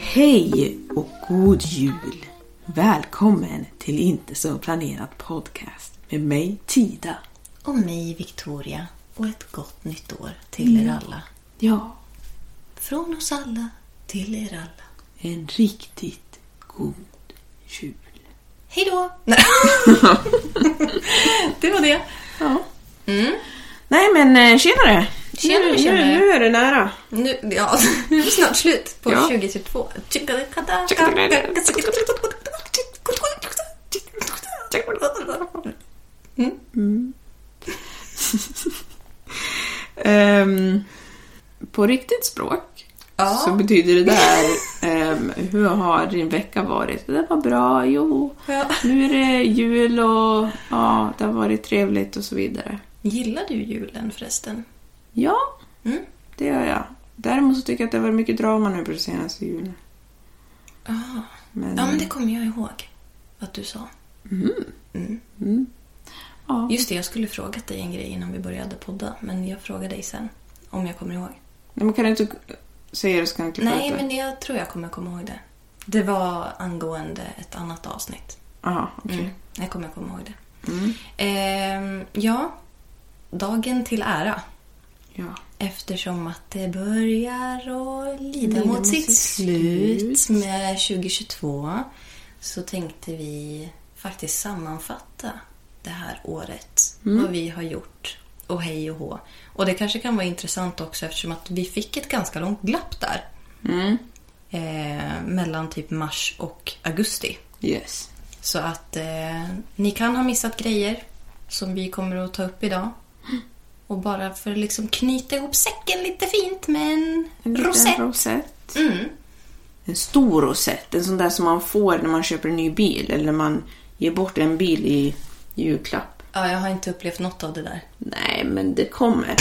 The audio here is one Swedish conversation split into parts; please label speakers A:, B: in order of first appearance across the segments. A: Hej och god jul! Välkommen till Inte som planerat podcast med mig Tida.
B: Och mig Victoria. Och ett gott nytt år till er alla.
A: Ja,
B: Från oss alla till er alla.
A: en riktigt god jul.
B: Hej då! Nej. det var det.
A: Ja. Nej men eh, tjenare!
B: Tjenare,
A: nu,
B: tjenare.
A: Nu, nu är det nära.
B: Nu, ja, nu är det snart slut på
A: Ja.
B: 2022.
A: Ehm, på riktigt språk
B: Ja.
A: så betyder det där ehm, hur har din vecka varit? Det var bra, jo.
B: Ja.
A: Nu är det jul och ja, det har varit trevligt och så vidare.
B: Gillar du julen förresten?
A: Ja,
B: Mm.
A: det gör jag. Däremot så tycker jag att det har varit mycket drama nu på den senaste julen.
B: Ah.
A: Men, eh,
B: Ja, men det kommer jag ihåg att du sa. Mm.
A: ja.
B: Just det, jag skulle frågat dig en grej innan vi började podda, men jag frågar dig sen om jag kommer ihåg.
A: Nej, men kan du inte säga det så kan jag klippa
B: Nej,
A: ut det.
B: men jag tror jag kommer komma ihåg det. Det var angående ett annat avsnitt.
A: Aha, okej.
B: Mm. Jag kommer komma ihåg det. Ehm, ja, dagen till ära.
A: Ja.
B: Eftersom att det börjar att lida
A: Lida
B: mot,
A: mot
B: sitt
A: sitt
B: slut.
A: slut.
B: med 2022 så tänkte vi faktiskt sammanfatta det här året. Vad vi har gjort och hej och hå. Och det kanske kan vara intressant också eftersom att vi fick ett ganska långt glapp där. Eh, mellan typ mars och augusti.
A: Yes.
B: Så att eh, ni kan ha missat grejer som vi kommer att ta upp idag. Och bara för att liksom knyta ihop säcken lite fint med en,
A: En liten
B: rosett.
A: rosett.
B: Mm.
A: En stor rosett. En sån där som man får när man köper en ny bil eller när man ger bort en bil i julklapp.
B: Ja, jag har inte upplevt något av det där.
A: Nej, men det kommer.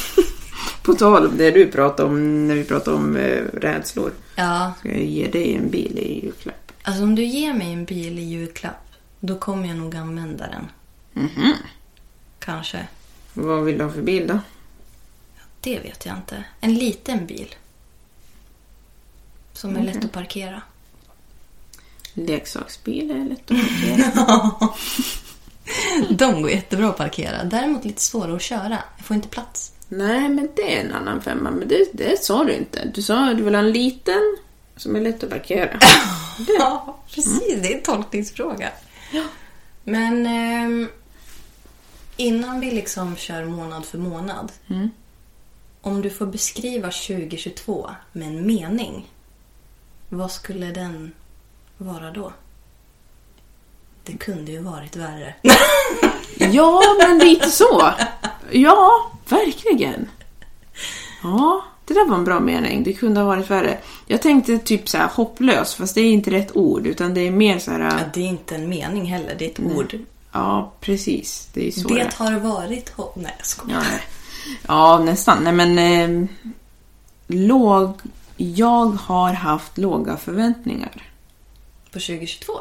A: På tal om det du pratade om när vi pratade om eh, rädslor.
B: Ja,
A: Ska jag ge dig en bil i julklapp?
B: alltså om du ger mig en bil i julklapp, då kommer jag nog använda den.
A: Mhm.
B: Kanske.
A: Vad vill du ha för bil då?
B: Det vet jag inte. En liten bil. Som är lätt att parkera.
A: Leksaksbil är lätt att parkera.
B: De går jättebra att parkera. Däremot lite svårare att köra. Jag får inte plats.
A: Nej, men det är en annan femma. Men det, det sa du inte. Du sa att du vill ha en liten som är lätt att parkera.
B: Ja,
A: Mm.
B: precis. Det är en tolkningsfråga. Men ehm, innan vi liksom kör månad för månad.
A: Mm.
B: Om du får beskriva 2022 med en mening. Vad skulle den vara då? Det kunde ju varit värre.
A: Ja, men lite så. Ja, verkligen. Ja, det där var en bra mening. Det kunde ha varit värre. Jag tänkte typ så här hopplös, fast det är inte rätt ord utan det är mer så
B: Ja,
A: här...
B: det är inte en mening heller, det är ett ord.
A: Ja, precis. Det är så
B: Det har varit... ho- Nej, jag skojar.
A: Ja, nej. ja nästan. Nej, men... Eh, låg... Jag har haft låga förväntningar.
B: På 2022?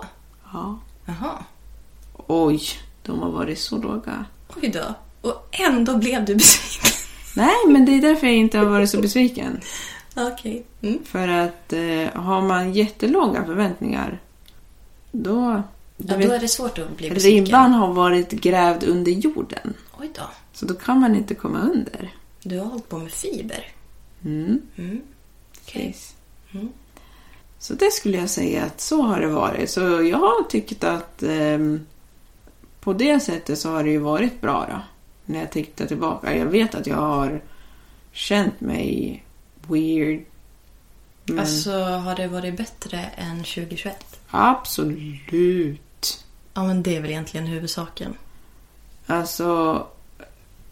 A: Ja.
B: Jaha.
A: Oj, de har varit så låga.
B: Oj då. Och ändå blev du besviken.
A: Nej, men det är därför jag inte har varit så besviken.
B: Okej. Mm.
A: För att eh, har man jättelåga förväntningar då... du
B: Ja,
A: vet,
B: då är det svårt att bli besviken.
A: Ribban har varit grävd under jorden.
B: Oj då.
A: Så då kan man inte komma under.
B: Du har hållit på med fiber. Mm. Okej.
A: Precis. Mm. Så det skulle jag säga att så har det varit. Så jag har tyckt att ehm, på det sättet så har det ju varit bra då. När jag tittar tillbaka. Jag vet att jag har känt mig weird. Men
B: Alltså, har det varit bättre än 2021?
A: absolut.
B: Ja, men det är väl egentligen huvudsaken.
A: Alltså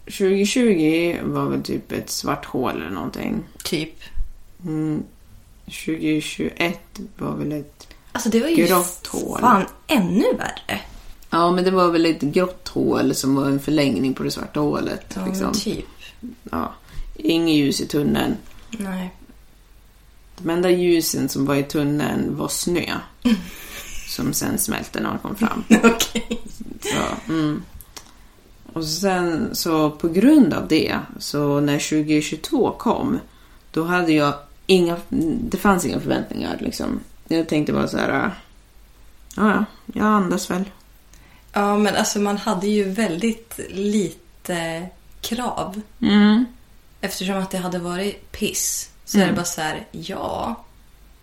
A: 2020 var väl typ ett svart hål eller någonting.
B: Typ.
A: Mm. 2021 var väl ett
B: Alltså, det var ju
A: Grått hår.
B: fan ännu värre.
A: Ja, men det var väl ett grått hål som var en förlängning på det svarta hålet.
B: Ja,
A: liksom.
B: men typ.
A: ja. Inget ljus i tunneln.
B: Nej.
A: De enda ljusen som var i tunneln var snö. Som sen smälte när de kom fram.
B: Okej.
A: Så, mm. Och sen så på grund av det, så när 2022 kom, då hade jag inga, det fanns inga förväntningar liksom. Jag tänkte bara så här, "Ah, ja, ja, jag andas väl.
B: Ja, men alltså man hade ju väldigt lite krav. Eftersom att det hade varit piss. Så är det bara så här, ja.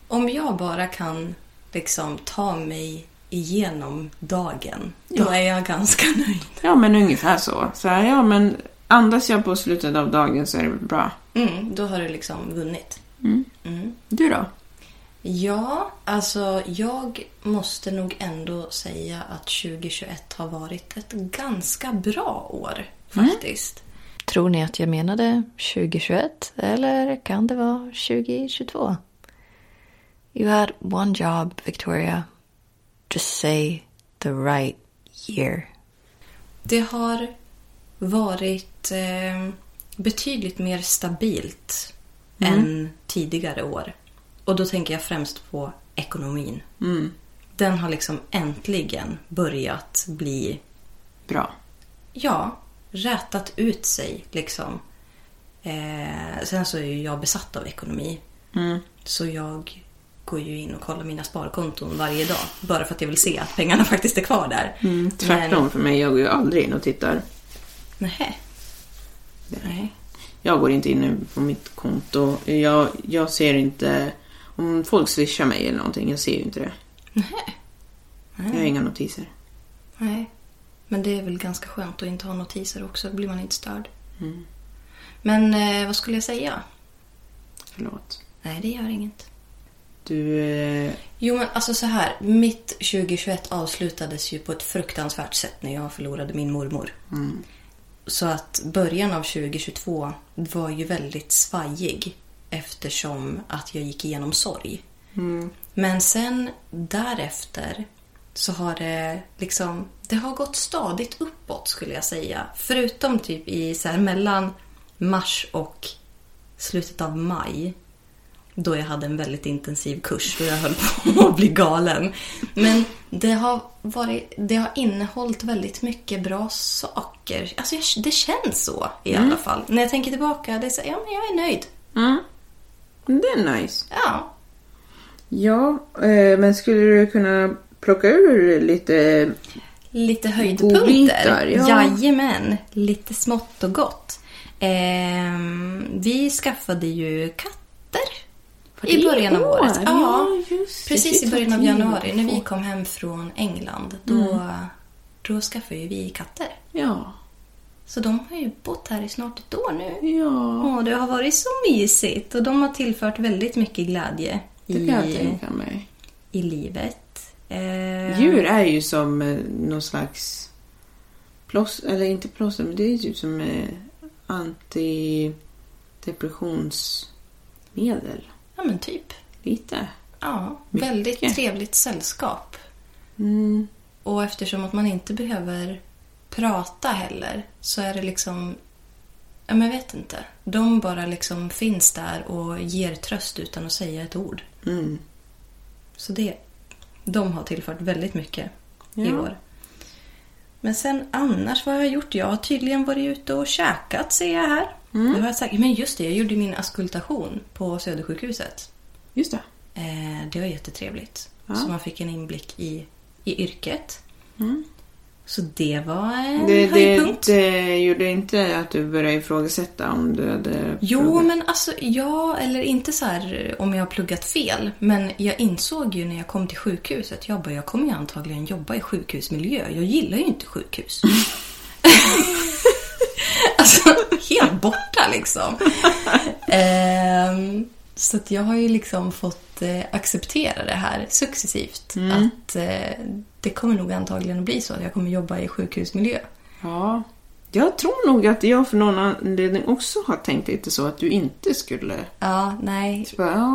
B: Om jag bara kan liksom ta mig igenom dagen. Då är jag ganska nöjd.
A: Ja, men ungefär så. Så här, ja, men andas jag på slutet av dagen så är det väl bra.
B: Mm, då har du liksom vunnit.
A: Du då?
B: Ja, alltså jag måste nog ändå säga att 2021 har varit ett ganska bra år faktiskt.
C: Mm. Tror ni att jag menade 2021 eller kan det vara 2022? You had one job, Victoria. Just say the right year.
B: Det har varit eh, betydligt mer stabilt än tidigare år. Och då tänker jag främst på ekonomin. Den har liksom äntligen börjat bli,
A: Bra.
B: ja, rätat ut sig liksom. Eh, sen så är ju jag besatt av ekonomi. Så jag går ju in och kollar mina sparkonton varje dag. Bara för att jag vill se att pengarna faktiskt är kvar där.
A: Mm, Tvärtom för mig, jag går ju aldrig in och tittar.
B: Men, nähä. Nej.
A: Jag går inte in på mitt konto. Jag, jag ser inte... Om folk swishar mig eller någonting, jag ser ju inte det.
B: Nej.
A: Jag har inga notiser.
B: Nej. Men det är väl ganska skönt att inte ha notiser också. Då blir man inte störd. Men eh, vad skulle jag säga?
A: Förlåt.
B: Nej, det gör inget.
A: Du... eh,
B: Jo, men alltså så här. Mitt 2021 avslutades ju på ett fruktansvärt sätt när jag förlorade min mormor. Så att början av 2022 var ju väldigt svajig eftersom att jag gick igenom sorg. Men sen därefter så har det liksom det har gått stadigt uppåt skulle jag säga. Förutom typ i så här mellan mars och slutet av maj då jag hade en väldigt intensiv kurs och jag höll på att bli galen. Men det har, varit, det har innehållit väldigt mycket bra saker. Alltså jag, det känns så i alla fall. När jag tänker tillbaka, det är så, ja men jag är nöjd.
A: Det är nice.
B: Ja.
A: Ja, eh, men skulle du kunna plocka ur lite...
B: Lite höjdpunkter.
A: Godbitar, ja.
B: Jajamän. Lite smått och gott. Ehm, vi skaffade ju katter i
A: det
B: början av
A: år?
B: året.
A: Ja, just det.
B: Precis
A: Det
B: i
A: tar
B: början av
A: tid att
B: januari när vi
A: få.
B: kom hem från England. Då,
A: Mm.
B: då skaffade ju vi katter.
A: Ja.
B: Så de har ju bott här i snart ett år nu.
A: Ja.
B: Åh, det har varit så mysigt och de har tillfört väldigt mycket glädje
A: Det kan jag
B: i,
A: tänka mig.
B: i livet. Eh,
A: Djur är ju som eh, någon slags plåster, eller inte plåster, men det är ju som eh, antidepressionsmedel.
B: Ja, men typ.
A: Lite.
B: Ja,
A: Mycket.
B: väldigt trevligt sällskap.
A: Mm.
B: Och eftersom att man inte behöver prata heller så är det liksom... Ja, men jag vet inte. De bara liksom finns där och ger tröst utan att säga ett ord.
A: Mm.
B: Så det De har tillfört väldigt mycket i
A: Ja.
B: år. Men sen annars, vad har jag gjort? Jag har tydligen varit ute och käkat ser jag här. Det har jag sagt. Men just det, jag gjorde min auskultation på Södersjukhuset.
A: Just det.
B: Eh, det var jättetrevligt.
A: Ja.
B: Så man fick en inblick i, i yrket. Så det var en
A: Mm. Det, det,
B: höjdpunkt.
A: det gjorde inte att du började ifrågasätta om du hade...
B: Jo,
A: pluggat.
B: men alltså ja, eller inte så här eh, om jag har pluggat fel. Men jag insåg ju när jag kom till sjukhuset, jag bara, jag kommer ju antagligen jobba i sjukhusmiljö. Jag gillar ju inte sjukhus. alltså, helt borta liksom. Ehm, så att jag har ju liksom fått eh, acceptera det här successivt. Att eh, det kommer nog antagligen att bli så att jag kommer jobba i sjukhusmiljö.
A: Ja. Jag tror nog att jag för någon anledning också har tänkt lite så att du inte skulle...
B: Ja, nej,
A: Så bara, ja,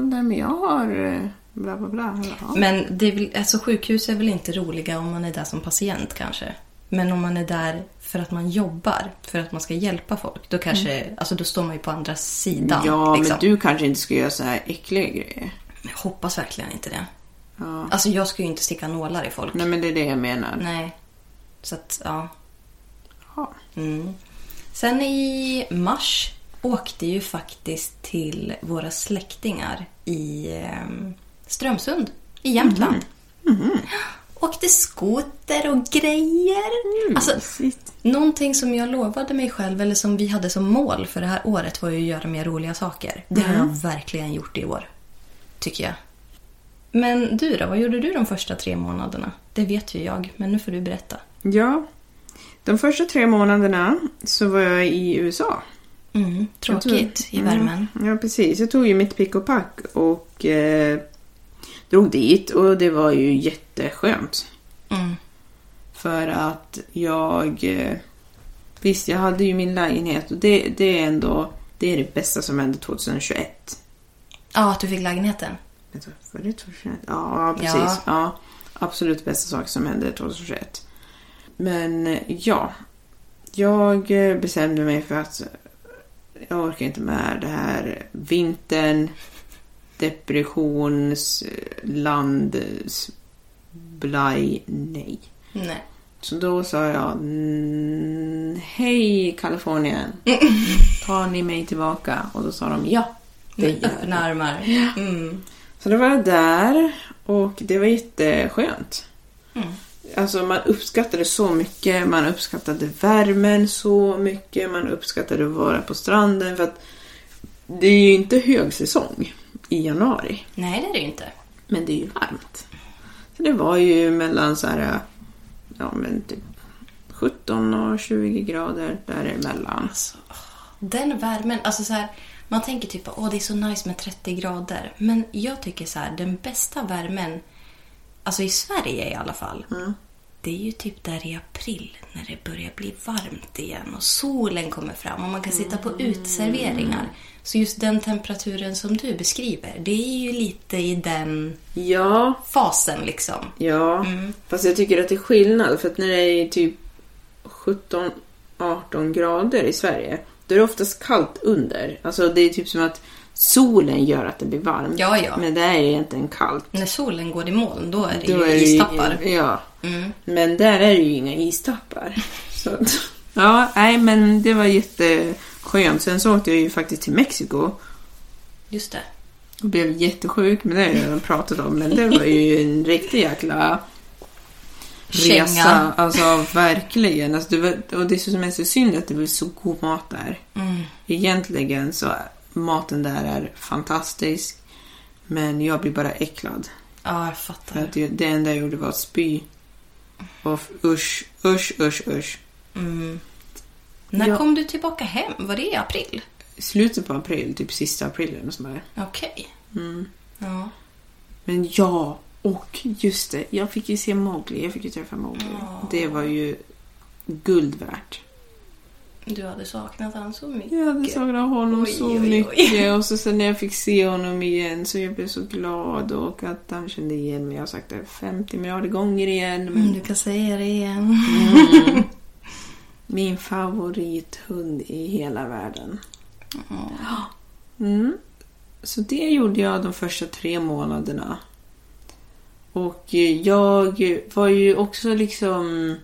A: nej men jag har... eh, Bla, bla, bla. Ja.
B: Men det är väl, alltså sjukhus är väl inte roliga om man är där som patient kanske. Men om man är där för att man jobbar, för att man ska hjälpa folk, då kanske, alltså då står man ju på andra sidan.
A: Mm. ja,
B: liksom.
A: men du kanske inte ska göra så här äckliga grejer.
B: Jag hoppas verkligen inte det.
A: Ja.
B: Alltså jag ska ju inte sticka nålar i folk.
A: Nej, men det är det jag menar.
B: Nej. Så att, ja.
A: Ja.
B: Mm. Sen i mars åkte ju faktiskt till våra släktingar i ehm, Strömsund i Jämtland.
A: Mhm.
B: Åkte skoter och grejer.
A: Mm,
B: alltså,
A: Shit.
B: någonting som jag lovade mig själv, eller som vi hade som mål för det här året, var ju att göra mer roliga saker. Det har jag verkligen gjort i år, tycker jag. Men du då, vad gjorde du de första tre månaderna? Det vet ju jag, men nu får du berätta.
A: Ja. De första tre månaderna så var jag i USA.
B: Mm,
A: Jag tog-
B: tråkigt i värmen.
A: Mm, ja, precis. Jag tog ju mitt pick och pack och eh, drog dit och det var ju jätteskönt.
B: Mm.
A: För att jag... eh, Visst, jag hade ju min lägenhet och det, det är ändå det, är det bästa som hände 2021.
B: Ja, att du fick lägenheten.
A: Vänta, Var det 2021? Ja, precis.
B: Ja.
A: Ja. absolut bästa sak som hände 2021. Men eh, ja, jag eh, bestämde mig för att jag orkar inte med det här vintern, depressionsland, blaj, nej.
B: Nej.
A: Så då sa jag "Mm, hej Kalifornien, tar ni mig tillbaka? Och då sa de ja, det
B: Med
A: gör vi."
B: öppna armar. Mm.
A: Så då var jag där och det var jätteskönt.
B: Mm.
A: Alltså man uppskattade så mycket, man uppskattade värmen så mycket, man uppskattade att vara på stranden för att det är ju inte högsäsong i januari,
B: Nej, det är det ju inte.
A: men det är ju varmt. Så det var ju mellan så här, ja men typ 17 och 20 grader däremellan.
B: Den värmen, alltså så här, man tänker typ åh det är så nice med 30 grader. Men jag tycker så här, den bästa värmen, alltså i Sverige i alla fall,
A: Mm.
B: det är ju typ där i april när det börjar bli varmt igen och solen kommer fram och man kan sitta
A: Mm.
B: på uteserveringar. Så just den temperaturen som du beskriver, det är ju lite i den
A: Ja,
B: fasen liksom.
A: Ja, fast jag tycker att det är skillnad för att när det är typ 17-18 grader i Sverige då är det oftast kallt under. Alltså det är typ som att solen gör att det blir varmt.
B: Ja, ja.
A: Men det är egentligen kallt.
B: När solen går i moln, då är det
A: Då
B: ju
A: är det ju-
B: istappar. Mm.
A: Ja. Men där är det ju inga istappar. Så att, ja, nej men det var jätteskönt. Sen så åkte jag ju faktiskt till Mexiko
B: Just det.
A: och blev jättesjuk, men det har jag redan pratat om. Men det var ju en riktig jäkla
B: Känga.
A: resa. Alltså verkligen. Alltså, det var, och det är så som är så synd att det blir så god mat där. Egentligen så är- maten där är fantastisk. Men jag blir bara äcklad.
B: Ja, jag
A: För
B: fattar.
A: att det, det enda jag gjorde var att spy. Och f- usch, usch, usch, usch.
B: När
A: Ja.
B: kom du tillbaka hem? Var det i april?
A: I Slutet på april, typ sista aprilen och sådär.
B: Okej. Mm. Ja.
A: Men ja, och just det. Jag fick ju se Mowgli. Jag fick ju träffa Mowgli. Det var ju guld värt.
B: Du hade saknat honom så mycket.
A: Jag hade saknat honom
B: Oj,
A: så
B: oj, oj.
A: mycket. Och så sen när jag fick se honom igen så jag blev så glad och att han kände igen mig. Jag har sagt det 50 miljarder gånger igen. Men
B: Mm, Du kan säga det igen.
A: Min favorithund i hela världen.
B: Ja.
A: Mm. Så det gjorde jag de första tre månaderna. Och eh, jag var ju också liksom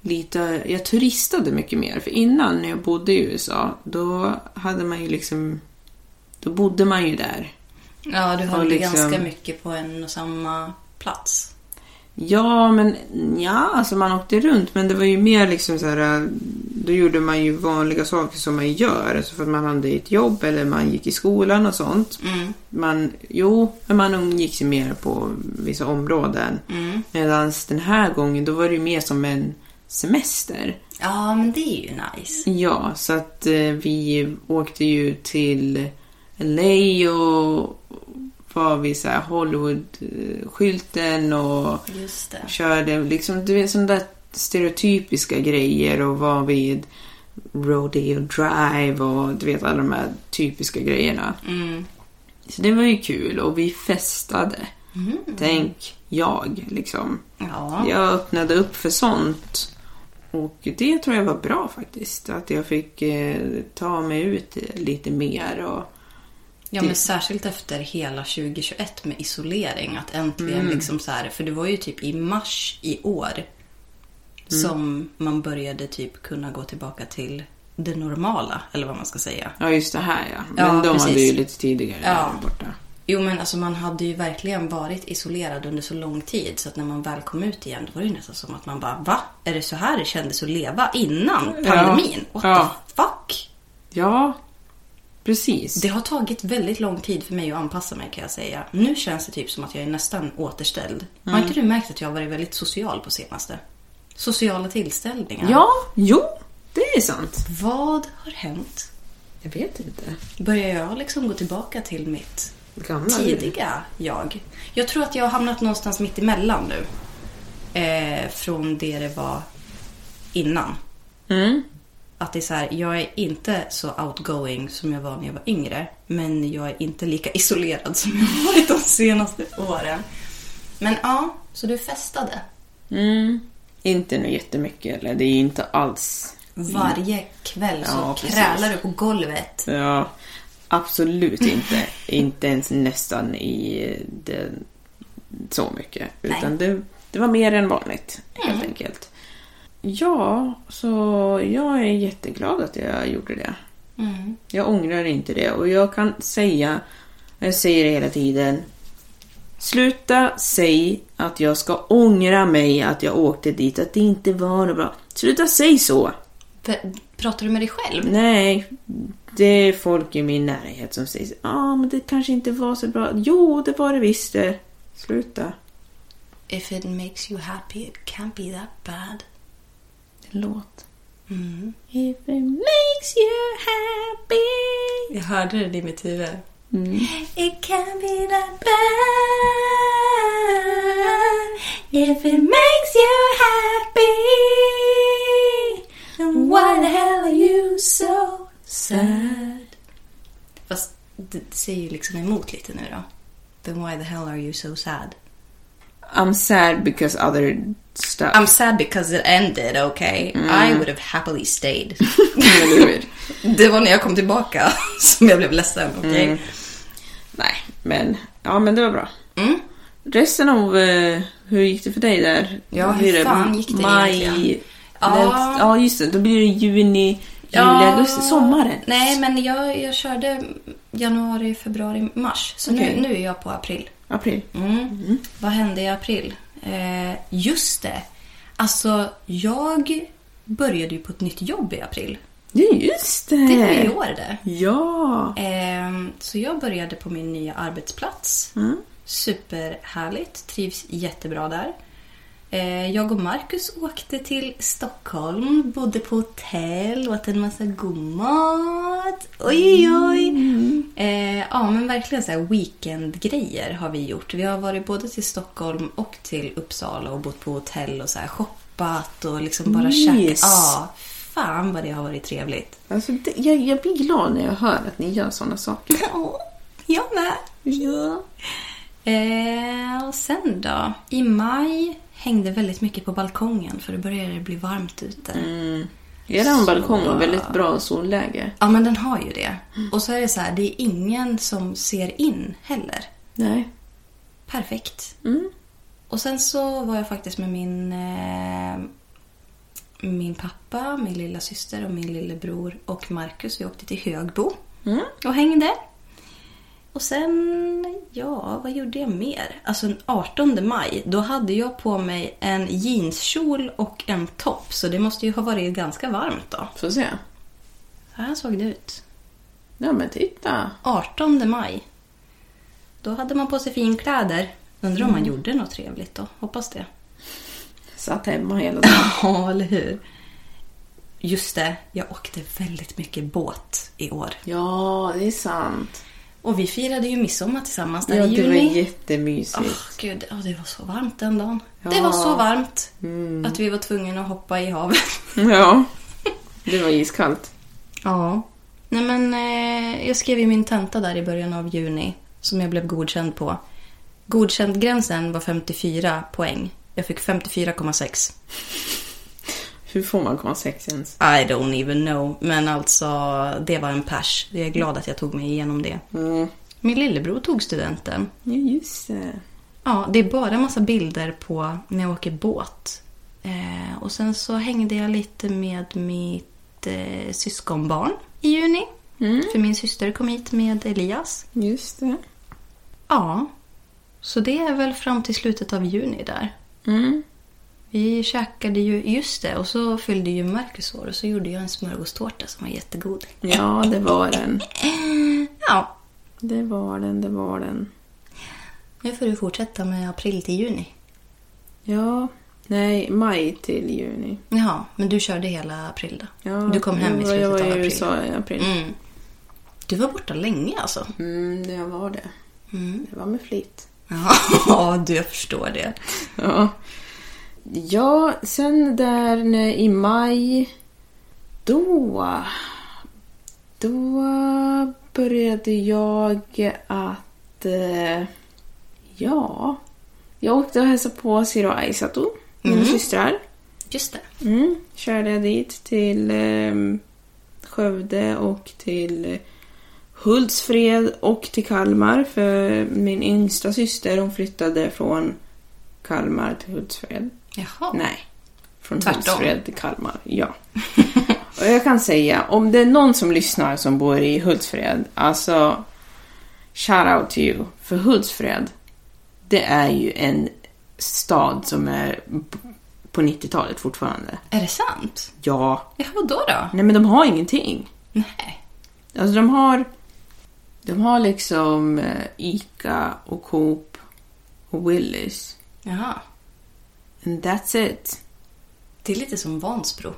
A: lite... Jag turistade mycket mer. För innan när jag bodde i USA, då hade man ju liksom... Då bodde man ju där.
B: Ja, du
A: Och
B: höll ju
A: liksom-
B: ganska mycket på en och samma plats.
A: Ja, men ja, alltså man åkte runt men det var ju mer liksom så här. äh, Då gjorde man ju vanliga saker som man gör. Alltså för att man hade ett jobb eller man gick i skolan och sånt. Man, jo, men man umgicks ju mer på vissa områden. Mm. Medan den här gången då var det ju mer som en semester.
B: Ja, men det är ju nice.
A: Ja, så att eh, vi åkte ju till LA och var vid så här Hollywood-skylten och
B: Just det.
A: körde liksom, du vet sådana där stereotypiska grejer och var vid Rodeo Drive och du vet alla de här typiska grejerna.
B: Mm.
A: Så det var ju kul och vi festade. Tänk, jag liksom.
B: Mm. Ja.
A: Jag öppnade upp för sånt. Och det tror jag var bra faktiskt. Att jag fick eh, ta mig ut lite mer och
B: Ja,
A: Det-
B: men särskilt efter hela 2021 med isolering. Att äntligen liksom så här, för det var ju typ i mars i år Mm. som man började typ kunna gå tillbaka till det normala, eller vad man ska säga.
A: Ja, just det här ja. Men
B: Ja,
A: de hade
B: precis.
A: ju lite tidigare
B: Ja.
A: där borta.
B: Jo, men alltså man hade ju verkligen varit isolerad under så lång tid så att när man väl kom ut igen då var det ju nästan som att man bara va? Är det så här det kändes att leva innan
A: Ja.
B: pandemin? What
A: Ja.
B: the fuck?
A: Ja, precis.
B: Det har tagit väldigt lång tid för mig att anpassa mig kan jag säga. Nu känns det typ som att jag är nästan återställd. Har
A: Mm.
B: inte du märkt att jag har varit väldigt social på senaste? Sociala tillställningar.
A: Ja, jo, det är sant.
B: Vad har hänt?
A: Jag vet inte.
B: Börjar jag liksom gå tillbaka till mitt
A: Gamla
B: tidiga jag? Jag tror att jag har hamnat någonstans mitt emellan nu. Eh, från det det var innan.
A: Mm.
B: Att det är så här, jag är inte så outgoing som jag var när jag var yngre. Men jag är inte lika isolerad som jag har varit de senaste åren. Men ja, så du festade?
A: Mm. Inte nu jättemycket eller det är inte alls.
B: Varje kväll så
A: Mm. Ja, precis.
B: krälar du på golvet.
A: Ja, absolut inte. inte ens nästan i eh, det, så mycket. Utan det, det var mer än vanligt helt enkelt. Ja, så jag är jätteglad att jag gjorde det. Jag ångrar inte det och jag kan säga, jag säger det hela tiden, Sluta säg att jag ska ångra mig att jag åkte dit, att det inte var något bra. Sluta säg så!
B: P- Pratar du med dig själv?
A: Nej, det är folk i min närhet som säger ja ah, men det kanske inte var så bra. Jo, det var det visst det. Sluta.
B: If it makes you happy it can't be that bad.
A: Låt.
B: Mm.
A: If it makes you happy.
B: Jag hörde det i mitt huvud.
D: It can be that bad if it makes you happy. Then why the hell are you so sad?
B: Fast det det säger ju liksom emot lite nu då. Then why the hell are you so sad?
A: I'm sad because other stuff.
B: I'm sad because it ended, okay? I would have happily stayed.
A: Eller hur?
B: Det var när jag kom tillbaka som jag blev ledsen. okej?
A: Nej, men ja men det var bra.
B: Mm.
A: Resten av, eh, hur gick det för dig där?
B: Ja,
A: Blir
B: hur fan gick det
A: Maj,
B: egentligen?
A: Ja.
B: Ja.
A: ja, just det. Då blir det juni, juli, augusti, sommaren.
B: Nej, men jag, jag körde januari, februari, mars. Så
A: Okej.
B: nu, nu är jag på april.
A: April.
B: Mm. Vad hände i april? Eh, just det. Alltså, jag började ju på ett nytt jobb i april.
A: Ja, just det.
B: Det var ju i år det.
A: Ja.
B: Ehm, Så jag började på min nya arbetsplats. Superhärligt, trivs jättebra där. Eh, Jag och Marcus åkte till Stockholm, bodde på hotell, åt en massa god mat. Oj, oj, oj. Eh, Ja, men verkligen så här weekendgrejer har vi gjort. Vi har varit både till Stockholm och till Uppsala och bott på hotell och så här shoppat och liksom bara
A: Nice.
B: käkat. Ja, fan vad det har varit trevligt.
A: Alltså, det, jag, jag blir glad när jag hör att ni gör sådana saker.
B: Åh, jag med.
A: Ja.
B: Eh, och sen då? I maj hängde väldigt mycket på balkongen för det började bli varmt ute.
A: Er
B: Så-
A: balkong har väldigt bra solläge.
B: Ja, men den har ju det. Och så är det så här, det är ingen som ser in heller.
A: Nej. Mm,
B: Perfekt. Och sen så var jag faktiskt med min, eh, min pappa, min lilla syster och min lillebror och Marcus. Vi åkte till Högbo och hängde. Och sen, ja, vad gjorde jag mer? Alltså den 18 maj, då hade jag på mig en jeanskjol och en topp. Så det måste ju ha varit ganska varmt då.
A: Får se.
B: Så här såg det ut.
A: Ja men titta.
B: 18 maj. Då hade man på sig finkläder. Undrar om man gjorde något trevligt då. Hoppas det.
A: Satt hemma hela dagen.
B: Ja, eller hur? Just det, jag åkte väldigt mycket båt i år.
A: Ja, det är sant.
B: Och vi firade ju midsommar tillsammans där
A: Ja,
B: i
A: det var
B: juni.
A: jättemysigt.
B: Åh, gud, ja, det var så varmt den dagen. Det var så varmt att vi var tvungna att hoppa i havet.
A: Mm. Ja. Det var iskallt.
B: Ja. Nej men, eh, jag skrev ju min tenta där i början av juni som jag blev godkänd på. Godkändgränsen var 54 poäng. Jag fick 54,6.
A: Hur får man komma sex ens?
B: I don't even know. Men alltså, det var en pers. Jag är glad att jag tog mig igenom det.
A: Mm.
B: Min lillebror tog studenten.
A: Ja, just det.
B: Ja, det är bara massa bilder på när jag åker båt. Eh, och sen så hängde jag lite med mitt eh, syskonbarn i juni. För min syster kom hit med Elias.
A: Just det.
B: Ja, så det är väl fram till slutet av juni där.
A: Mm.
B: Vi käkade ju, just det, och så fyllde ju Marcus år och så gjorde jag en smörgåstårta som var jättegod.
A: Ja, det var den.
B: Ja,
A: Det var den, det var den.
B: nu får du fortsätta med april till juni.
A: Ja. Nej, maj till juni.
B: Jaha, men du körde hela april då?
A: Ja,
B: du kom hem i
A: jag var- Jag
B: slutet
A: var
B: av
A: i
B: april?
A: USA i april.
B: Mm. Du var borta länge alltså?
A: Mm, det var det. Det var med flit.
B: Ja, du jag förstår det.
A: Ja. Ja, sen där när- i maj, då... Då började jag att... eh, Ja... Jag åkte och hälsade på Siro och Aisato, mina systrar.
B: Just det.
A: Mm. Körde jag dit till eh, Skövde och till Hultsfred och till Kalmar för min yngsta syster hon flyttade från Kalmar till Hultsfred.
B: Jaha.
A: Nej, från
B: Tvärtom.
A: Hultsfred till Kalmar. Ja. och jag kan säga, om det är någon som lyssnar som bor i Hultsfred, alltså shout out to you. För Hultsfred, det är ju en stad som är på 90-talet fortfarande.
B: Är det sant?
A: Ja.
B: Ja, vadå då?
A: Nej men de har ingenting.
B: Nej.
A: Alltså de har... De har liksom eh, Ica och Coop och Willys.
B: Jaha.
A: And that's it.
B: Det är lite som Vansbro.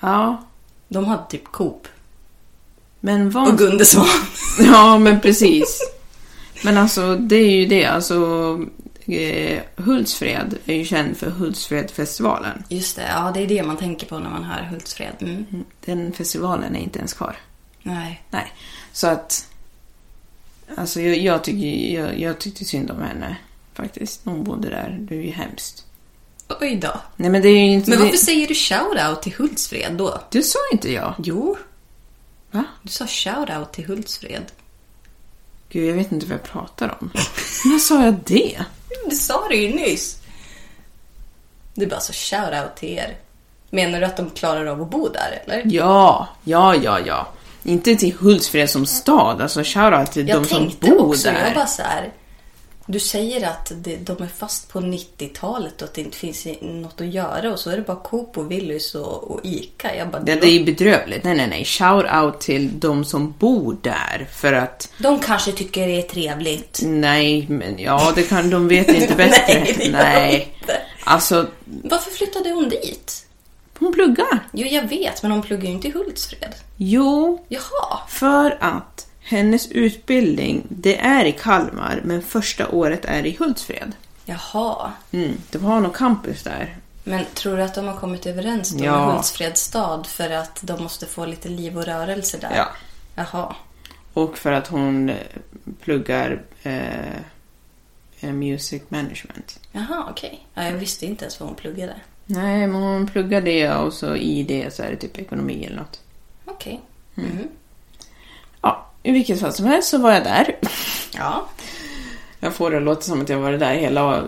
A: Ja.
B: De hade typ Coop.
A: Men vad...
B: Och Gunde
A: Ja, men precis. Men alltså, det är ju det. Alltså, eh, Hultsfred är ju känd för Hultsfredfestivalen.
B: Just det, ja det är det man tänker på när man hör Hultsfred. Mm.
A: Den festivalen är inte ens kvar.
B: Nej.
A: Nej. Så att... Alltså, jag, jag, tycker, jag, jag tyckte synd om henne faktiskt. Hon bodde där. Det är ju hemskt.
B: Oj då.
A: Nej, men det är ju inte...
B: Men
A: det-
B: varför säger du shout-out till Hultsfred då?
A: Det sa inte jag.
B: Jo.
A: Va?
B: Du sa shout-out till Hultsfred.
A: Gud, jag vet inte vad jag pratar om. När sa jag det?
B: Du sa det ju nyss. Du bara så shout-out till er. Menar du att de klarar av att bo där eller?
A: Ja, ja, ja, ja. Inte till Hultsfred som stad, alltså shoutout till de som
B: tänkte
A: bor
B: också,
A: där.
B: Jag bara så här, du säger att det, de är fast på 90-talet och att det inte finns något att göra och så är det bara Coop och Willys och, och Ica. Jag bara,
A: Ja, det är ju bedrövligt. Nej, nej, nej. Shoutout till de som bor där. För att,
B: De kanske tycker det är trevligt.
A: Mm. nej, men ja, det kan, de vet inte bättre.
B: Nej, det gör
A: nej.
B: inte.
A: Alltså,
B: Varför flyttade hon dit?
A: hon pluggar.
B: Jo, jag vet, men hon pluggar ju inte i Hultsfred.
A: Jo,
B: Jaha.
A: för att hennes utbildning, det är i Kalmar, men första året är i Hultsfred.
B: Jaha.
A: Mm, de har nog campus där.
B: Men tror du att de har kommit överens då
A: Ja.
B: med Hultsfreds stad för att de måste få lite liv och rörelse där?
A: Ja.
B: Jaha.
A: Och för att hon eh, pluggar eh, eh, music management.
B: Jaha, okej. Ja, jag visste inte ens vad hon pluggade.
A: Nej, men hon pluggar det och så i det så är det typ ekonomi eller något.
B: Okej.
A: Ja, i vilket fall som helst så var jag där.
B: Ja.
A: Jag får det att låta som att jag varit där hela,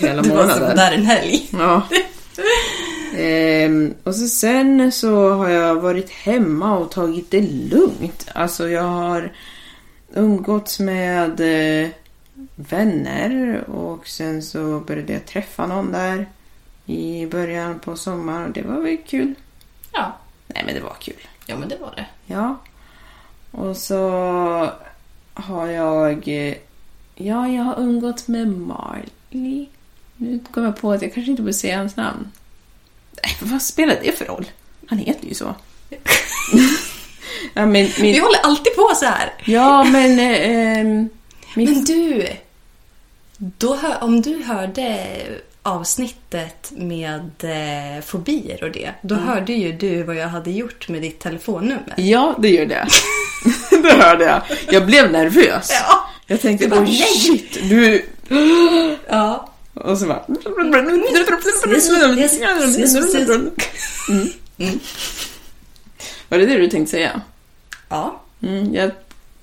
A: hela
B: Du var så
A: månaden.
B: där en helg.
A: Ja. Ehm, och så sen så har jag varit hemma och tagit det lugnt. Alltså jag har umgåtts med eh, vänner och sen så började jag träffa någon där i början på sommaren. Det var väl kul.
B: Ja.
A: Nej men det var kul.
B: ja, men det var det.
A: Ja. Och så har jag... Ja, jag har umgått med Marley. Nu kom jag på att jag kanske inte borde säga hans namn. Nej, vad spelar det för roll? Han heter ju så. ja, men,
B: Vi
A: min,
B: håller alltid på så här.
A: ja, men... eh, ehm, min,
B: Men du! Då hör, om du hörde avsnittet med eh, fobier och det, då
A: Mm.
B: hörde ju du vad jag hade gjort med ditt telefonnummer.
A: Ja, det gjorde jag. det hörde jag. Jag blev nervös.
B: Ja.
A: Jag tänkte
B: Du bara,
A: bara,
B: nej.
A: shit, du...
B: Ja.
A: Och så bara... Mm. Var det det du tänkte säga?
B: Ja.
A: Mm, jag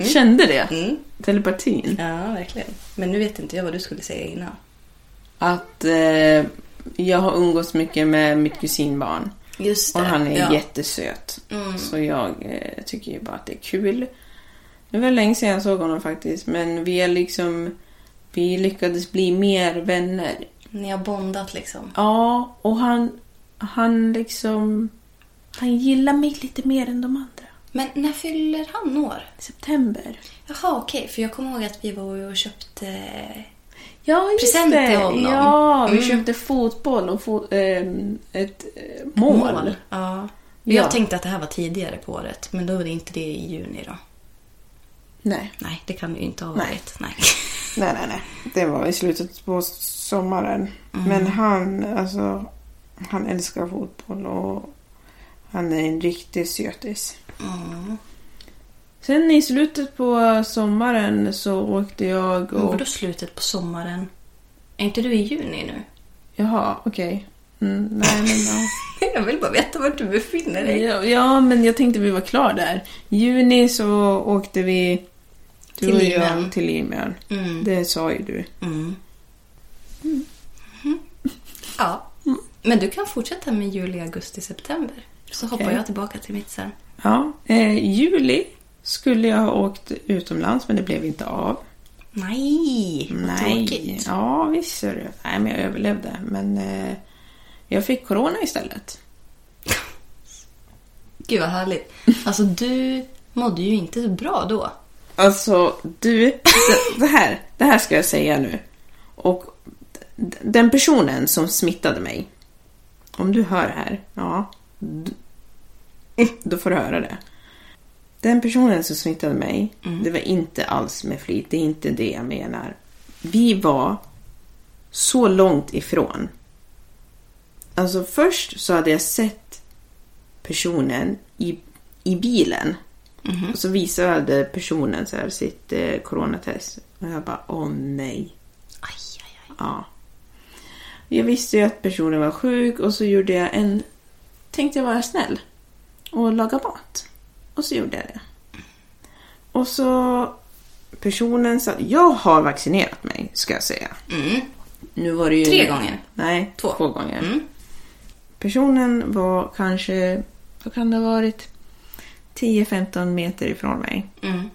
A: kände det.
B: Mm.
A: Telepatin.
B: Ja, verkligen. Men nu vet inte jag vad du skulle säga innan.
A: Att eh, jag har umgås mycket med mitt kusinbarn.
B: Just
A: Och han är
B: ja.
A: jättesöt. Så jag eh, tycker ju bara att det är kul. Det var länge sedan jag såg honom faktiskt. Men vi är liksom... Vi lyckades bli mer vänner.
B: Ni har bondat liksom.
A: Ja, och han... Han liksom... Han gillar mig lite mer än de andra.
B: Men när fyller han år?
A: September.
B: Jaha, okej. För jag kommer ihåg att vi var och köpte...
A: Ja, just
B: Present
A: det.
B: till honom.
A: Ja, vi
B: Mm.
A: köpte fotboll och fo- ehm, ett eh, mål.
B: Ja.
A: Ja.
B: Jag tänkte att det här var tidigare på året, men då var det inte det i juni då.
A: Nej.
B: Nej, det kan det ju inte ha
A: Nej.
B: varit. Nej.
A: nej, nej, nej. Det var i slutet på sommaren. Men han, alltså, han älskar fotboll och han är en riktig sötis. Mm. Sen i slutet på sommaren så åkte jag
B: Men
A: och...
B: Vadå slutet på sommaren? Är inte du i juni nu?
A: Jaha, okej. Mm, nej, men ja.
B: Jag vill bara veta vart du befinner dig.
A: Ja, ja, men jag tänkte vi var klar där. juni så åkte vi du
B: Till
A: och jag
B: Limhamn.
A: till Limhamn.
B: Mm.
A: Det Mm. sa ju du.
B: Mm. Mhm. Ja.
A: Mm.
B: Men du kan fortsätta med juli, augusti, september. Så hoppar
A: Okej.
B: jag tillbaka till mitt sen.
A: Ja, eh, juli skulle jag ha åkt utomlands men det blev inte av.
B: Nej, vad tråkigt.
A: Ja, visst ser du. Nej, men jag överlevde. Men eh, jag fick corona istället.
B: Gud vad härligt. Alltså du mådde ju inte så bra då.
A: Alltså, du. det- Det här, det här ska jag säga nu. Och d- den personen som smittade mig. Om du hör det här, ja. d- Då får du höra det. Den personen som smittade mig, det var inte alls med flit. Det är inte det jag menar. Vi var så långt ifrån. Alltså först så hade jag sett personen i, i bilen.
B: Mhm.
A: Och så visade personen så här sitt eh, coronatest. Och jag bara, åh nej.
B: Aj, aj, aj.
A: Ja. Jag visste ju att personen var sjuk och så gjorde jag en... Tänkte jag vara snäll och laga mat. Och så gjorde jag det. Och så... Personen sa... Jag har vaccinerat mig, ska jag säga. Nu var det ju...
B: Mm. Tre gånger.
A: Nej,
B: Två. Mm.
A: två, gånger. Personen var kanske... Vad kan det ha varit? 10-15 meter ifrån mig.
B: Mm.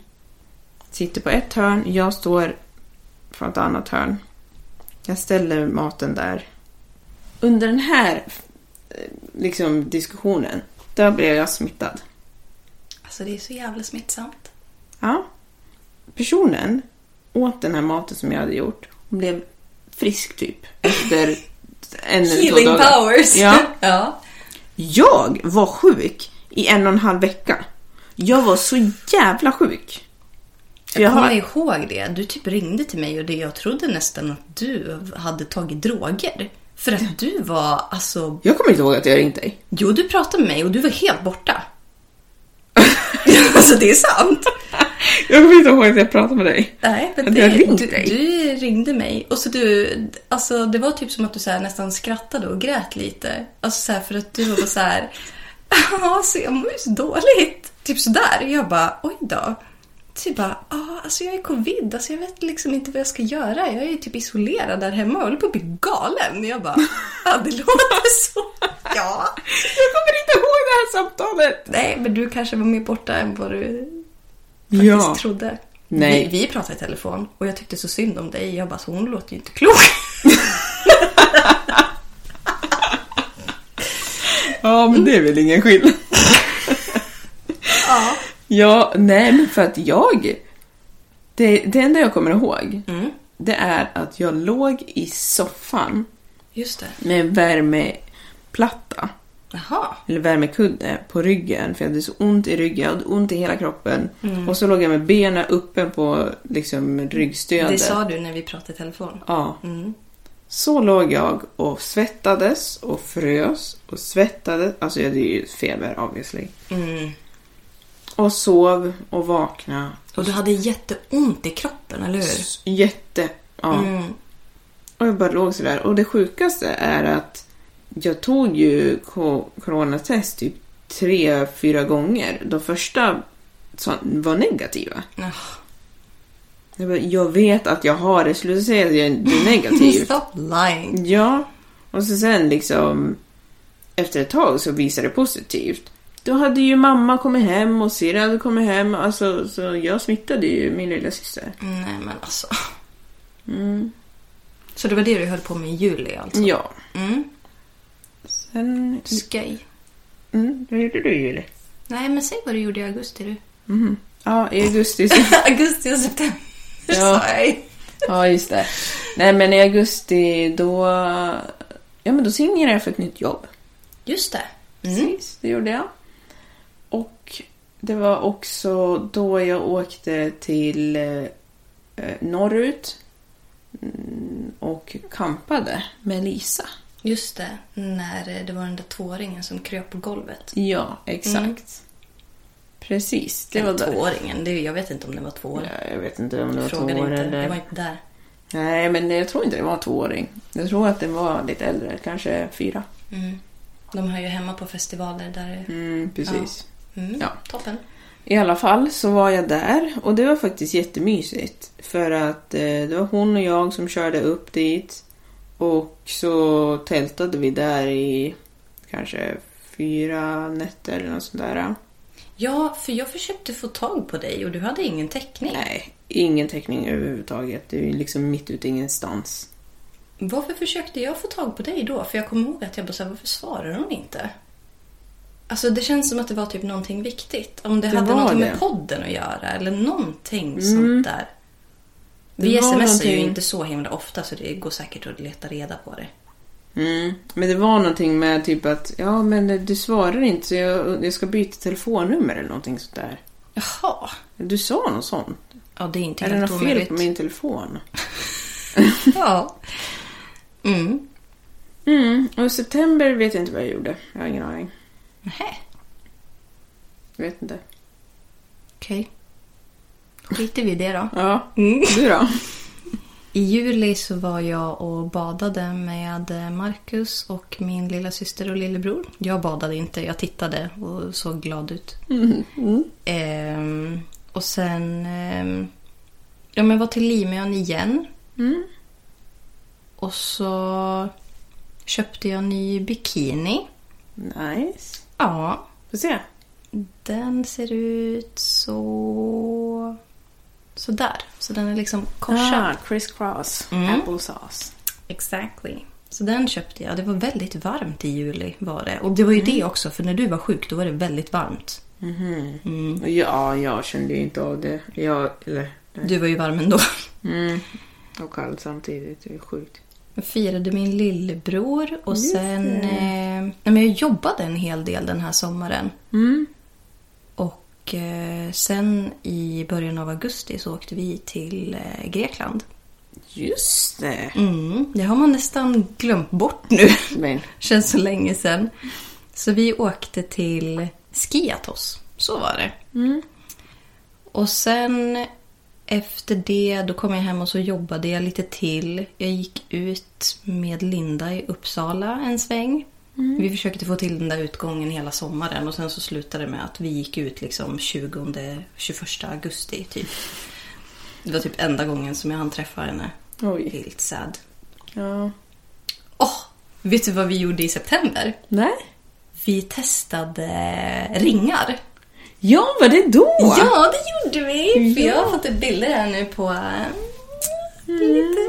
A: Sitter på ett hörn, jag står från ett annat hörn. Jag ställer maten där. Under den här eh, liksom, diskussionen, där blev jag smittad.
B: Alltså det är så jävla smittsamt.
A: Ja. Personen åt den här maten som jag hade gjort och blev frisk typ efter en eller två
B: Healing
A: dagar.
B: powers!
A: Ja.
B: ja.
A: Jag var sjuk i en och en halv vecka. Jag var så jävla sjuk. För
B: Jag
A: jag
B: kommer
A: har-
B: ihåg det. Du typ ringde till mig och det, jag trodde nästan att du hade tagit droger. För att du var alltså...
A: jag kommer inte ihåg att jag ringt dig.
B: Jo, du pratade med mig och du var helt borta. alltså det är sant.
A: Jag kommer inte ihåg att jag pratade med dig.
B: Nej, men
A: Att
B: det,
A: jag ringt
B: du,
A: dig.
B: du ringde mig och så du, alltså det var typ som att du så här, nästan skrattade och grät lite. Alltså så här, för att du var så här, ja, så jag mår ju så dåligt. Typ sådär. Jag bara, oj då. typ bara, ah, alltså jag är covid, alltså jag vet liksom inte vad jag ska göra. Jag är ju typ isolerad där hemma och håller på att bli galen. Jag bara, ah, det låter så. Ja.
A: Jag kommer inte ihåg det här samtalet!
B: Nej, men du kanske var mer borta än vad du faktiskt
A: Ja.
B: trodde.
A: Nej.
B: Vi, vi pratade i telefon och jag tyckte så synd om dig. Jag bara, så hon låter ju inte klok.
A: Ja, men det är väl ingen skillnad.
B: ja.
A: Ja, nej men för att jag... Det, det enda jag kommer ihåg, det är att jag låg i soffan
B: Just det.
A: med en värmeplatta,
B: Jaha.
A: eller värmekudde, på ryggen för jag hade så ont i ryggen, jag hade ont i hela kroppen.
B: Mm.
A: Och så låg jag med benen uppe på liksom, ryggstödet.
B: Det sa du Mm. när vi pratade i telefon.
A: Ja. Så låg jag och svettades och frös och svettades. Alltså jag hade ju feber obviously.
B: Mm.
A: Och sov och vaknade.
B: Och du hade jätteont i kroppen, eller hur?
A: S- Jätte... Ja.
B: Mm.
A: Och jag bara låg sådär. Och det sjukaste är att jag tog ju co- coronatest typ tre, fyra gånger. De första sa- var negativa.
B: Ah,
A: Jag, bara, jag vet att jag har det, sluta säga att jag är negativ.
B: Stop lying.
A: Ja, och så sen liksom efter ett tag så visade det positivt. Då hade ju mamma kommit hem och syrran hade kommit hem. Alltså, så jag smittade ju min lilla syster.
B: Nej, men alltså. Mm. Så det var det du höll på med i juli alltså?
A: Ja.
B: Mm.
A: Sen...
B: Skoj.
A: Mm, vad gjorde du Julie?
B: Nej, men säg vad du gjorde i augusti du.
A: Ja, i augusti.
B: augusti och september
A: Ja.
B: sa jag.
A: ja, just det. Nej, men i augusti då... Ja, men då signerade jag för ett nytt jobb.
B: Just det.
A: Precis, det gjorde jag. Och det var också då jag åkte till eh, norrut mm, och kampade med Lisa.
B: Just det, när det var den där tvååringen som kröp på golvet. Mm.
A: Ja, exakt. Precis, det
B: Eller
A: var där.
B: tvååringen, det, är- jag vet inte om det var två år.
A: Ja, Jag vet inte om det var två
B: Frågade
A: år
B: inte,
A: eller...
B: jag var inte där.
A: Nej, men jag tror inte det var en tvååring. Jag tror att den var lite äldre, kanske fyra.
B: Mm. De hör ju hemma på festivaler där.
A: Mm, precis.
B: Mm.
A: Ja.
B: Toppen.
A: I alla fall så var jag där och det var faktiskt jättemysigt. För att eh, det var hon och jag som körde upp dit. Och så tältade vi där i kanske fyra nätter eller något sånt där.
B: Ja, för jag försökte få tag på dig och du hade ingen täckning.
A: Nej, ingen täckning överhuvudtaget. Det är ju liksom mitt ute i ingenstans.
B: Varför försökte jag få tag på dig då? För jag kommer ihåg att jag bara såhär, varför svarar hon inte? Alltså det känns som att det var typ någonting viktigt. Om det,
A: Det
B: hade
A: var
B: någonting
A: det. Mm.
B: med podden att göra eller någonting sånt där. Vi
A: Det var
B: smsar ju
A: någonting.
B: inte så himla ofta så det går säkert att leta reda på det.
A: Mm. Men det var någonting med typ att ja, men du svarar inte så jag, jag ska byta telefonnummer eller någonting sånt där.
B: Jaha.
A: Du sa något sånt.
B: Ja, det är inte
A: Är det
B: helt
A: något fel
B: omöjligt.
A: på min telefon?
B: Ja. Mm.
A: Mm, och i september vet jag inte vad jag gjorde. Jag har ingen aning.
B: Nähä.
A: Jag vet inte.
B: Okej. Skiter vi i det då.
A: Ja,
B: Mm.
A: du då?
B: I juli så var jag och badade med Marcus och min lilla syster och lillebror. Jag badade inte, jag tittade och såg glad ut. Mm. Ehm, och sen... ehm, ja, men jag var till Limön igen. Mm. Och så köpte jag en ny bikini.
A: Nice.
B: Ja,
A: Får se.
B: den ser ut så... Så där. Så den är liksom korsad.
A: criss cross.
B: Mm.
A: Ah, Applesauce.
B: Exactly. Så den köpte jag. Det var väldigt varmt i juli var det. Och det var ju det också, för när du var sjuk då var det väldigt varmt. Mm.
A: Ja, jag kände ju inte av det. Jag, eller, nej.
B: Du var ju varm ändå.
A: Mm. Och kallt samtidigt. Det är sjukt.
B: Jag firade min lillebror och sen... Eh, nej, men jag jobbade en hel del den här sommaren. Och eh, sen i början av augusti så åkte vi till eh, Grekland.
A: Just det.
B: Mm, det har man nästan glömt bort nu.
A: Men.
B: Känns så länge sedan. Så vi åkte till Skiathos. Så var det. Och sen efter det, då kom jag hem och så jobbade jag lite till. Jag gick ut med Linda i Uppsala en sväng.
A: Mm.
B: Vi försökte få till den där utgången hela sommaren och sen så slutade det med att vi gick ut liksom 20, 21 augusti typ. Det var typ enda gången som jag hann träffa henne.
A: Oj.
B: Helt sad.
A: Ja.
B: Åh! vet du vad vi gjorde i september?
A: Nej.
B: Vi testade ringar.
A: Ja, var det då?
B: Ja, det gjorde vi! För jag har fått upp bilder här nu på eh, lite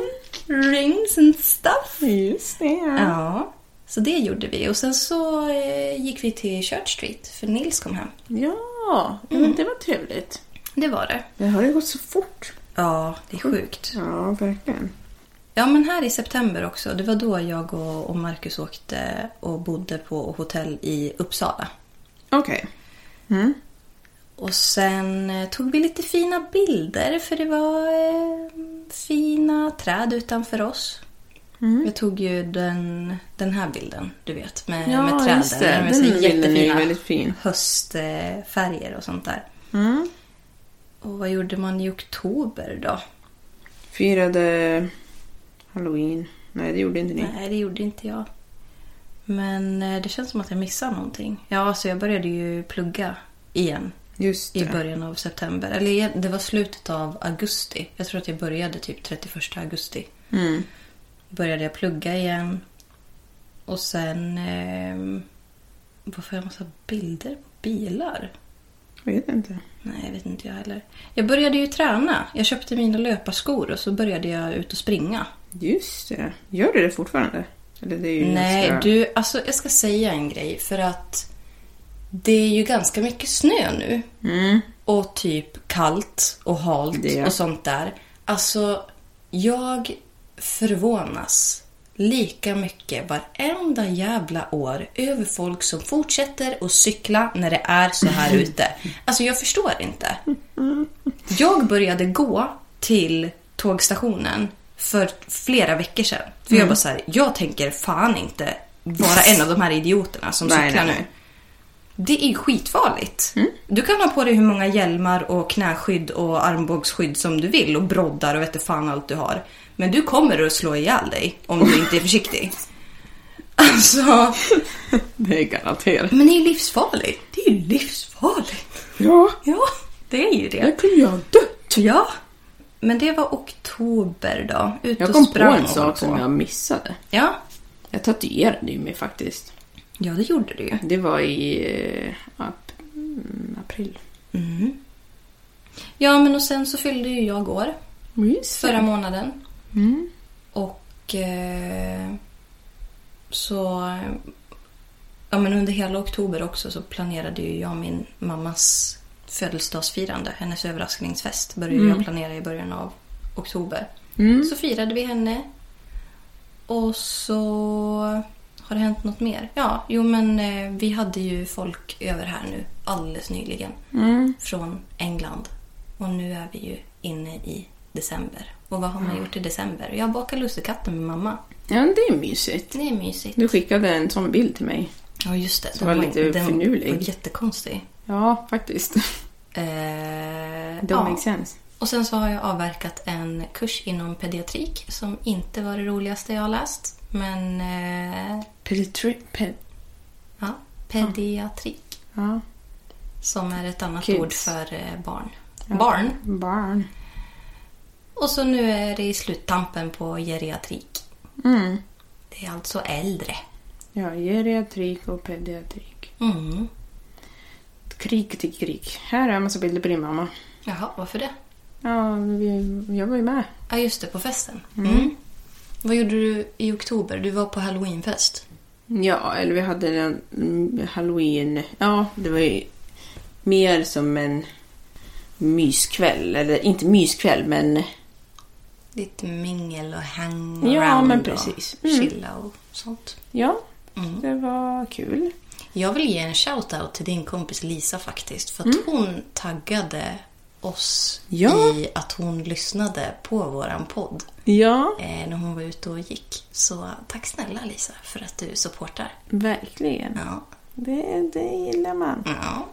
B: rings and stuff.
A: Just det.
B: Ja, så det gjorde vi. Och sen så eh, gick vi till Church Street för Nils kom hem.
A: Ja, men det var trevligt.
B: Det var det.
A: Mm. Det har ju gått så fort.
B: Ja, det är sjukt.
A: Ja, verkligen.
B: Ja, men här i september också. Det var då jag och och Marcus åkte och bodde på hotell i Uppsala.
A: Okej.
B: Och sen eh, tog vi lite fina bilder för det var eh, fina träd utanför oss.
A: Mm.
B: Jag tog ju den, den här bilden, du vet, med,
A: Ja,
B: med träden.
A: just det.
B: med så
A: Den bilden är ju
B: jättefina
A: väldigt fin.
B: höstfärger och sånt där.
A: Mm.
B: Och vad gjorde man i oktober då?
A: Firade halloween. Nej, det gjorde inte ni.
B: Nej, det gjorde inte jag. Men eh, det känns som att jag missar någonting. Ja, så jag började ju plugga igen
A: Just
B: i
A: det.
B: början av september. Eller jag- det var slutet av augusti. Jag tror att jag började typ 31 augusti.
A: Mm.
B: Började jag plugga igen. Och sen... Eh, varför har jag massa bilder på bilar?
A: Jag vet inte.
B: Nej, jag vet inte jag heller. Jag började ju träna. Jag köpte mina löparskor och så började jag ut och springa.
A: Just det. Gör du det fortfarande? Eller det är ju
B: Nej,
A: ganska...
B: du, alltså jag ska säga en grej för att det är ju ganska mycket snö nu.
A: Mm.
B: Och typ kallt och halt
A: Det.
B: och sånt där. Alltså, jag förvånas lika mycket varenda jävla år över folk som fortsätter att cykla när det är så här ute. Alltså jag förstår inte. Jag började gå till tågstationen för flera veckor sedan. För
A: Mm.
B: jag bara så här, jag tänker fan inte vara en av de här idioterna som
A: Nej,
B: cyklar
A: nej,
B: nu.
A: nej. Mm.
B: Det är ju skitfarligt. Du kan ha på dig hur många hjälmar och knäskydd och armbågsskydd som du vill och broddar och vet du fan allt du har. Men du kommer att slå ihjäl dig om du inte är försiktig. Alltså,
A: Det är garanterat.
B: men det är ju livsfarligt. Det är ju livsfarligt.
A: Ja,
B: Ja, det är ju det.
A: där kunde jag ha dött.
B: Ja. Men det var oktober då. Ut
A: Jag
B: och
A: kom på
B: sprang
A: en
B: och
A: sak
B: på.
A: som jag missade.
B: Ja.
A: Jag tatuerade ju mig faktiskt.
B: ja, det gjorde du ju.
A: Det var i eh, ap- mm, april.
B: Ja, men och sen så fyllde ju jag år
A: Just
B: förra månaden.
A: Mm.
B: Och eh, så... Ja, men under hela oktober också så planerade ju jag min mammas födelsedagsfirande. Hennes överraskningsfest började jag planera i början av oktober. Så firade vi henne. Och så... Har det hänt något mer? Ja, jo men eh, vi hade ju folk över här nu alldeles nyligen. Från England. Och nu är vi ju inne i december. Och vad har
A: Mm.
B: man gjort i december? Jag bakar lussekatter med mamma.
A: Ja, det är mysigt.
B: Det är mysigt.
A: Du skickade en sån bild till mig.
B: Ja, just det.
A: var lite finurlig.
B: var jättekonstig.
A: Ja, faktiskt.
B: Eh,
A: Don't
B: ja.
A: make sense.
B: Och sen så har jag avverkat en kurs inom pediatrik som inte var det roligaste jag har läst. Men eh,
A: Peditri- ped-
B: ja, pediatrik.
A: ja,
B: Som är ett annat
A: Kids.
B: ord för eh, barn. Barn.
A: barn.
B: Och så nu är det i sluttampen på geriatrik.
A: Mm.
B: Det är alltså äldre.
A: Ja, geriatrik och pediatrik.
B: Mm.
A: Krig till krig. Här är en massa bilder på din mamma.
B: Jaha, varför det?
A: Ja, vi, jag var ju med.
B: Ja, just det, på festen. Mm. Vad gjorde du i oktober? Du var på halloweenfest.
A: Ja, eller vi hade en mm, halloween... Ja, det var ju mer som en myskväll. Eller inte myskväll, men...
B: Lite mingel och hang
A: Ja,
B: around
A: men precis.
B: och
A: Mm.
B: chilla och sånt.
A: Ja,
B: Mm.
A: det var kul.
B: Jag vill ge en shout-out till din kompis Lisa faktiskt. För att hon taggade oss
A: Mm. Ja.
B: i att hon lyssnade på våran podd.
A: Ja,
B: eh, när hon var ute och gick. Så tack snälla Lisa för att du supportar.
A: verkligen.
B: Ja.
A: Det, det gillar man.
B: ja.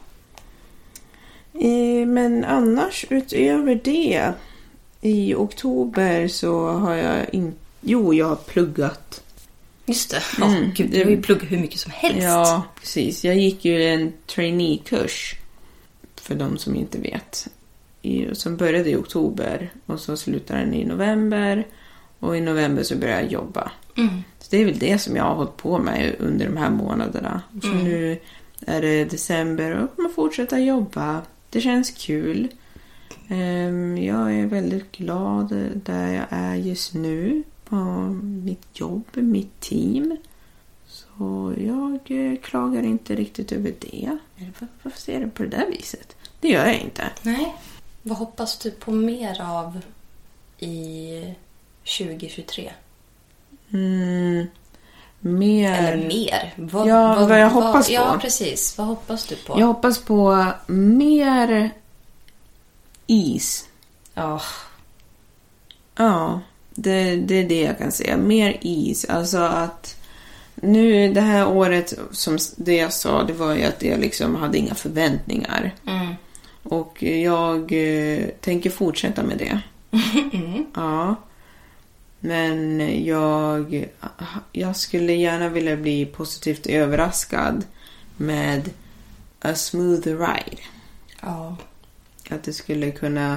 A: Eh, Men annars utöver det i oktober så har jag inte... Jo, jag har pluggat.
B: Just det. Mm. Ja, gud, du har ju pluggat hur mycket som helst.
A: Ja, precis. Jag gick ju en trainee-kurs, för de som inte vet, i- som började i oktober och så slutade den i november och i november så började jag jobba. Så det är väl det som jag har hållit på med under de här månaderna. Så nu är det december och jag kommer fortsätta jobba. Det känns kul. Ehm, Jag är väldigt glad där jag är just nu på mitt jobb, mitt team. Så jag eh, klagar inte riktigt över det. Eller var- Varför ser jag det på det där viset? Det gör jag inte.
B: Nej. Vad hoppas du på mer av i 2023?
A: Mm, mer...
B: Eller mer? Vad,
A: Ja, vad jag hoppas
B: Eh, Ja,
A: på.
B: precis. Vad hoppas du på?
A: Jag hoppas på mer is.
B: Ja.
A: Ja, det, det är det jag kan säga. Mer is. Alltså att nu det här året, som s- det jag sa, det var ju att jag liksom hade inga förväntningar. Och jag eh, tänker fortsätta med det. Ja. Men jag, jag skulle gärna vilja bli positivt överraskad med a smooth ride
B: ja.
A: att det skulle kunna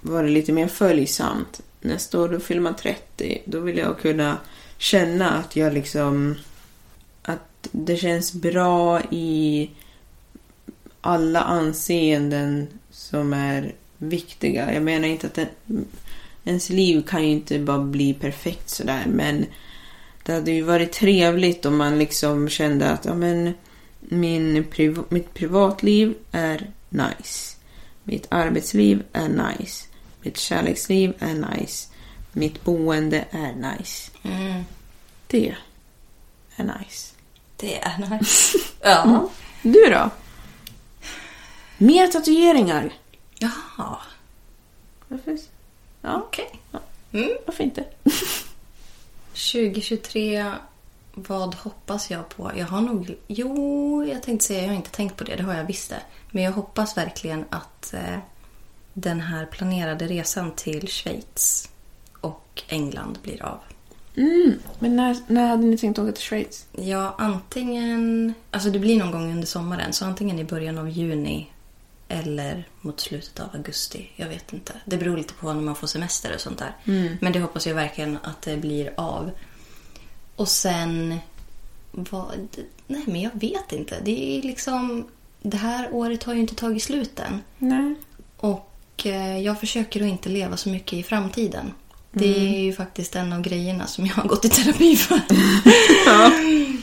A: vara lite mer följsamt. Nästa år då fyller man 30. Då vill jag kunna känna att jag liksom... Att det känns bra i alla anseenden som är viktiga. Jag menar inte att en, ens liv kan ju inte bara bli perfekt sådär men det hade ju varit trevligt om man liksom kände att ja, men min priv- mitt privatliv är nice. Mitt arbetsliv är nice. Mitt kärleksliv är nice. Mitt boende är nice.
B: Mm.
A: Det är nice.
B: Det är nice. Ja.
A: Du då? Mer tatueringar!
B: Jaha.
A: Varför? Ja,
B: Okej. Mm.
A: varför inte?
B: 2023, vad hoppas jag på? Jag har nog... Jo, jag tänkte säga jag har inte tänkt på det. Det har jag visst det. Men jag hoppas verkligen att eh, den här planerade resan till Schweiz och England blir av.
A: Mm. Men när, när hade ni tänkt åka till Schweiz?
B: Ja, antingen... Alltså det blir någon gång under sommaren. Så antingen i början av juni eller mot slutet av augusti. Jag vet inte. Det beror lite på när man får semester och sånt där. Men det hoppas jag verkligen att det blir av. Och sen... Vad, nej, men jag vet inte. Det är liksom... Det här året har ju inte tagit slut än.
A: Nej.
B: Och eh, jag försöker att inte leva så mycket i framtiden. Det är ju faktiskt en av grejerna som jag har gått i terapi för.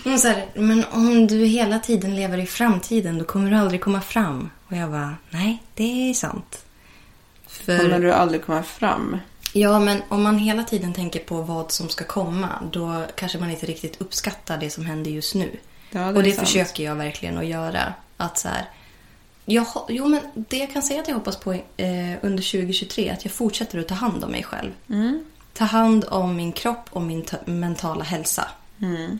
B: Hon så här, men om du hela tiden lever i framtiden då kommer du aldrig komma fram. Och jag bara, nej det är sant.
A: Kommer
B: För,
A: du aldrig komma fram?
B: ja men om man hela tiden tänker på vad som ska komma då kanske man inte riktigt uppskattar det som händer just nu.
A: Ja, det är
B: Och det
A: sant.
B: försöker jag verkligen att göra. Att så här, jag, ho- jo, men det jag kan säga att jag hoppas på eh, under 2023 är att jag fortsätter att ta hand om mig själv. Ta hand om min kropp och min t- mentala hälsa.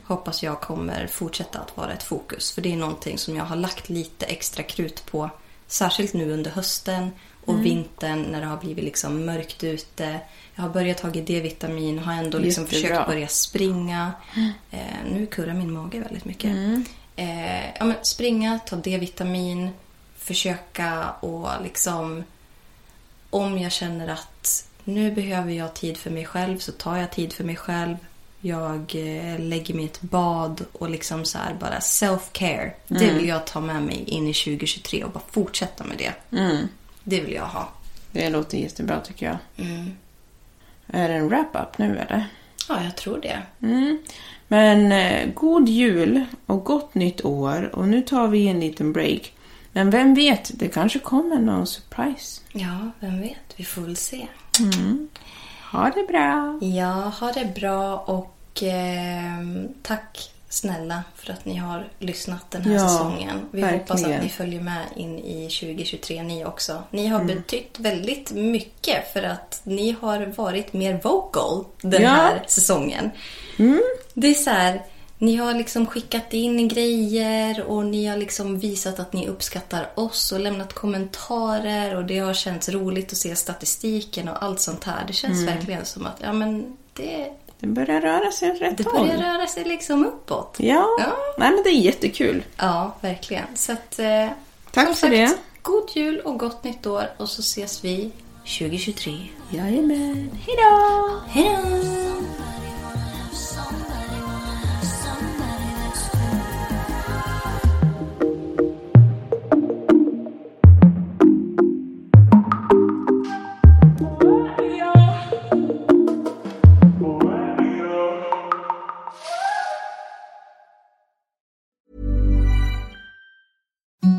B: Hoppas jag kommer fortsätta att vara ett fokus. För det är någonting som jag har lagt lite extra krut på. Särskilt nu under hösten och vintern när det har blivit liksom mörkt ute. Jag har börjat ta D-vitamin och har ändå liksom
A: Jättebra.
B: försökt börja springa. Eh, nu kurrar min mage väldigt mycket. Eh, ja, men springa, ta D-vitamin, försöka och liksom... Om jag känner att nu behöver jag tid för mig själv så tar jag tid för mig själv. Jag eh, lägger mig i ett bad och liksom så här bara self-care. Det
A: Mm.
B: vill jag ta med mig in i 2023 och bara fortsätta med det.
A: Mm.
B: Det vill jag ha.
A: Det låter jättebra tycker jag.
B: Mm.
A: Är det en wrap-up nu eller?
B: Ja, jag tror det.
A: Mm. Men eh, god jul och gott nytt år och nu tar vi en liten break. Men vem vet, det kanske kommer någon surprise.
B: Ja, vem vet? Vi får väl se.
A: Ha det bra!
B: Ja, ha det bra och ehm, tack snälla för att ni har lyssnat den här
A: Ja,
B: säsongen. Vi hoppas
A: verkligen.
B: att ni följer med in i 2023 ni också. Ni har betytt väldigt mycket för att ni har varit mer vocal den
A: Ja.
B: här säsongen. Det är så här, ni har liksom skickat in grejer och ni har liksom visat att ni uppskattar oss och lämnat kommentarer och det har känts roligt att se statistiken och allt sånt här. Det känns verkligen som att ja, men det,
A: Det börjar röra sig åt rätt
B: Det
A: håll.
B: börjar röra sig liksom uppåt.
A: Ja.
B: Ja.
A: nej men det är jättekul.
B: Ja, verkligen. Så att, eh,
A: Tack
B: som
A: för det.
B: God jul och gott nytt år och så ses vi 2023.
A: Jajamän. Hejdå!
B: Hej då!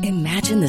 E: Imagine the